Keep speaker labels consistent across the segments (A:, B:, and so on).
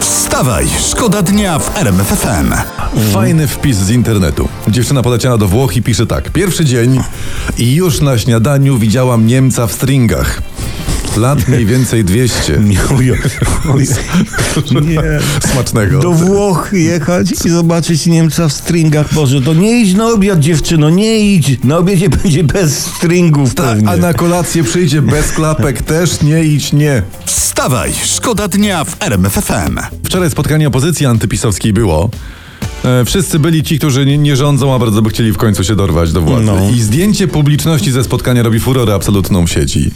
A: Wstawaj, szkoda dnia w RMFFM.
B: Fajny wpis z internetu. Dziewczyna poleciana do Włoch i pisze tak. Pierwszy dzień i już na śniadaniu widziałam Niemca w stringach. Lat mniej więcej 200.
C: Miłuję. Nie.
B: Smacznego.
C: Do Włoch jechać i zobaczyć Niemca w stringach. Boże, to nie idź na obiad, dziewczyno, nie idź. Na obiedzie będzie bez stringów
B: Ta,
C: pewnie.
B: a na kolację przyjdzie bez klapek też nie idź, nie.
A: Wstawaj, szkoda dnia w RMFFM.
B: Wczoraj spotkanie opozycji antypisowskiej było. E, Wszyscy byli ci, którzy nie, nie rządzą, a bardzo by chcieli w końcu się dorwać do władzy.
C: No.
B: I zdjęcie publiczności ze spotkania robi furorę absolutną w sieci.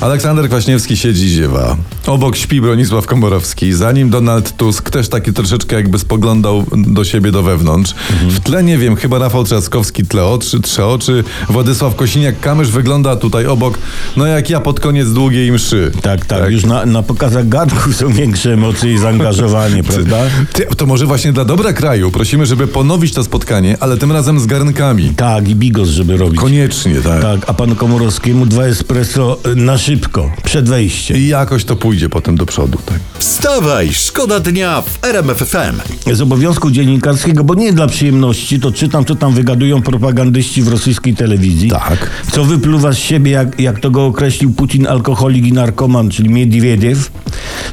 B: Aleksander Kwaśniewski siedzi i ziewa. Obok śpi Bronisław Komorowski. Za nim Donald Tusk, też taki troszeczkę jakby spoglądał do siebie do wewnątrz. W tle nie wiem, chyba Rafał Trzaskowski tle oczy, trze oczy. Władysław Kosiniak-Kamysz wygląda tutaj obok, no jak ja pod koniec długiej mszy.
C: Tak, tak, już na, na pokazach gadków są większe emocje i zaangażowanie, prawda?
B: Ty, to może właśnie dla dobra kraju prosimy, żeby ponowić to spotkanie, ale tym razem z garnkami.
C: Tak, i bigos, żeby robić.
B: Koniecznie, tak.
C: Tak, a panu Komorowskiemu dwa espresso y, na szybko, przed wejściem.
B: I jakoś to pójdzie potem do przodu, tak.
A: Wstawaj, szkoda dnia w RMFFM.
C: z obowiązku dziennikarskiego, bo nie dla przyjemności, to czytam, co tam wygadują propagandyści w rosyjskiej telewizji.
B: Tak.
C: Co wypluwa z siebie, jak, jak to go określił Putin, alkoholik i narkoman, czyli Miedwiediew.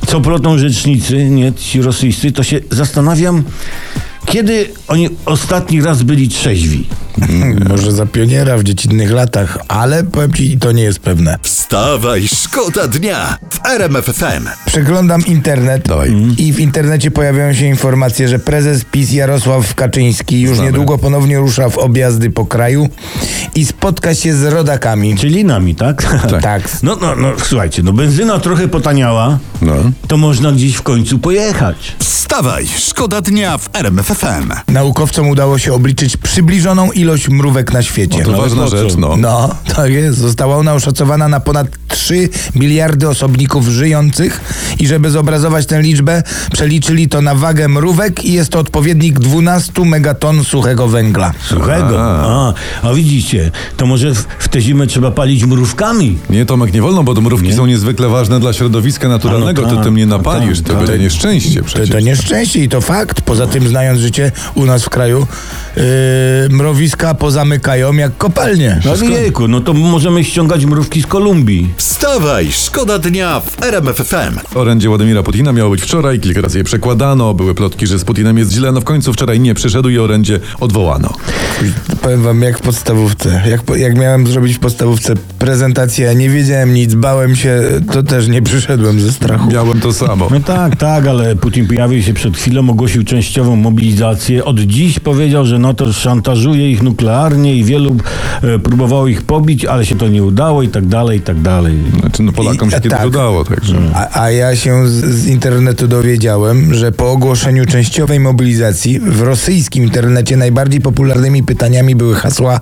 C: Co plotą rzecznicy, nie, ci rosyjscy, to się zastanawiam, kiedy oni ostatni raz byli trzeźwi.
A: Mm.
D: Tak, Może za pioniera w dziecinnych latach, ale powiem ci, to nie jest pewne.
A: Wstawaj, szkoda dnia w RMFFM.
D: Przeglądam internet i w internecie pojawiają się informacje, że prezes PiS Jarosław Kaczyński już niedługo ponownie rusza w objazdy po kraju i spotka się z rodakami.
C: Czyli nami, tak?
D: Tak.
C: No, no, no, słuchajcie, no benzyna trochę potaniała,
B: No.
C: to można gdzieś w końcu pojechać.
A: Wstawaj, szkoda dnia w RMFFM.
D: Naukowcom udało się obliczyć przybliżoną ilość mrówek na świecie.
B: To ważna
C: po co?
B: rzecz, no.
D: No, tak jest. Została ona oszacowana na ponad 3 miliardy osobników żyjących i żeby zobrazować tę liczbę, przeliczyli to na wagę mrówek i jest to odpowiednik 12 megaton suchego węgla.
C: Suchego. A, a widzicie, to może w, w tę zimę trzeba palić mrówkami.
B: Nie, Tomek, nie wolno, bo to mrówki są niezwykle ważne dla środowiska naturalnego.
C: tak,
B: Ty tym nie
C: no
B: napalisz,
C: tak,
B: to
C: tak.
B: będzie nieszczęście przecież.
D: To, to nieszczęście i to fakt. Poza tym, znając życie u nas w kraju, yy, mrowiska pozamykają jak kopalnie.
C: No wieku, no to możemy ściągać mrówki z Kolumbii.
A: Wstawaj, szkoda dnia w RMFFM.
B: Orędzie Władimira Putina miało być wczoraj, kilka razy je przekładano, były plotki, że z Putinem jest źle, no w końcu wczoraj nie przyszedł i orędzie odwołano.
D: Powiem wam, jak w podstawówce. Jak, po- jak miałem zrobić w podstawówce prezentację, nie wiedziałem nic, bałem się, to też nie przyszedłem ze strachu.
B: Miałem to samo.
C: No tak, tak, ale Putin pojawił się przed chwilą, ogłosił częściową mobilizację. Od dziś powiedział, że NATO szantażuje ich nuklearnie i wielu e, próbowało ich pobić, ale się to nie udało i tak dalej, i tak dalej.
B: Znaczy, no Polakom
D: I-
B: się kiedyś
D: tak.
B: udało, także...
D: A, a ja się z, z internetu dowiedziałem, że po ogłoszeniu częściowej mobilizacji w rosyjskim internecie najbardziej popularnymi pytaniami były hasła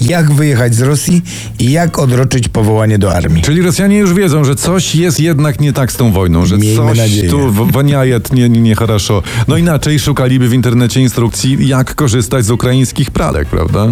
D: jak wyjechać z Rosji i jak odroczyć powołanie do armii.
B: Czyli Rosjanie już wiedzą, że coś jest jednak nie tak z tą wojną, że
D: Miejmy
B: coś
D: nadzieję.
B: tu w- waniajet nie, nie, nie хорошо. No inaczej szukaliby w internecie instrukcji, jak korzystać z ukraińskich pralek, prawda?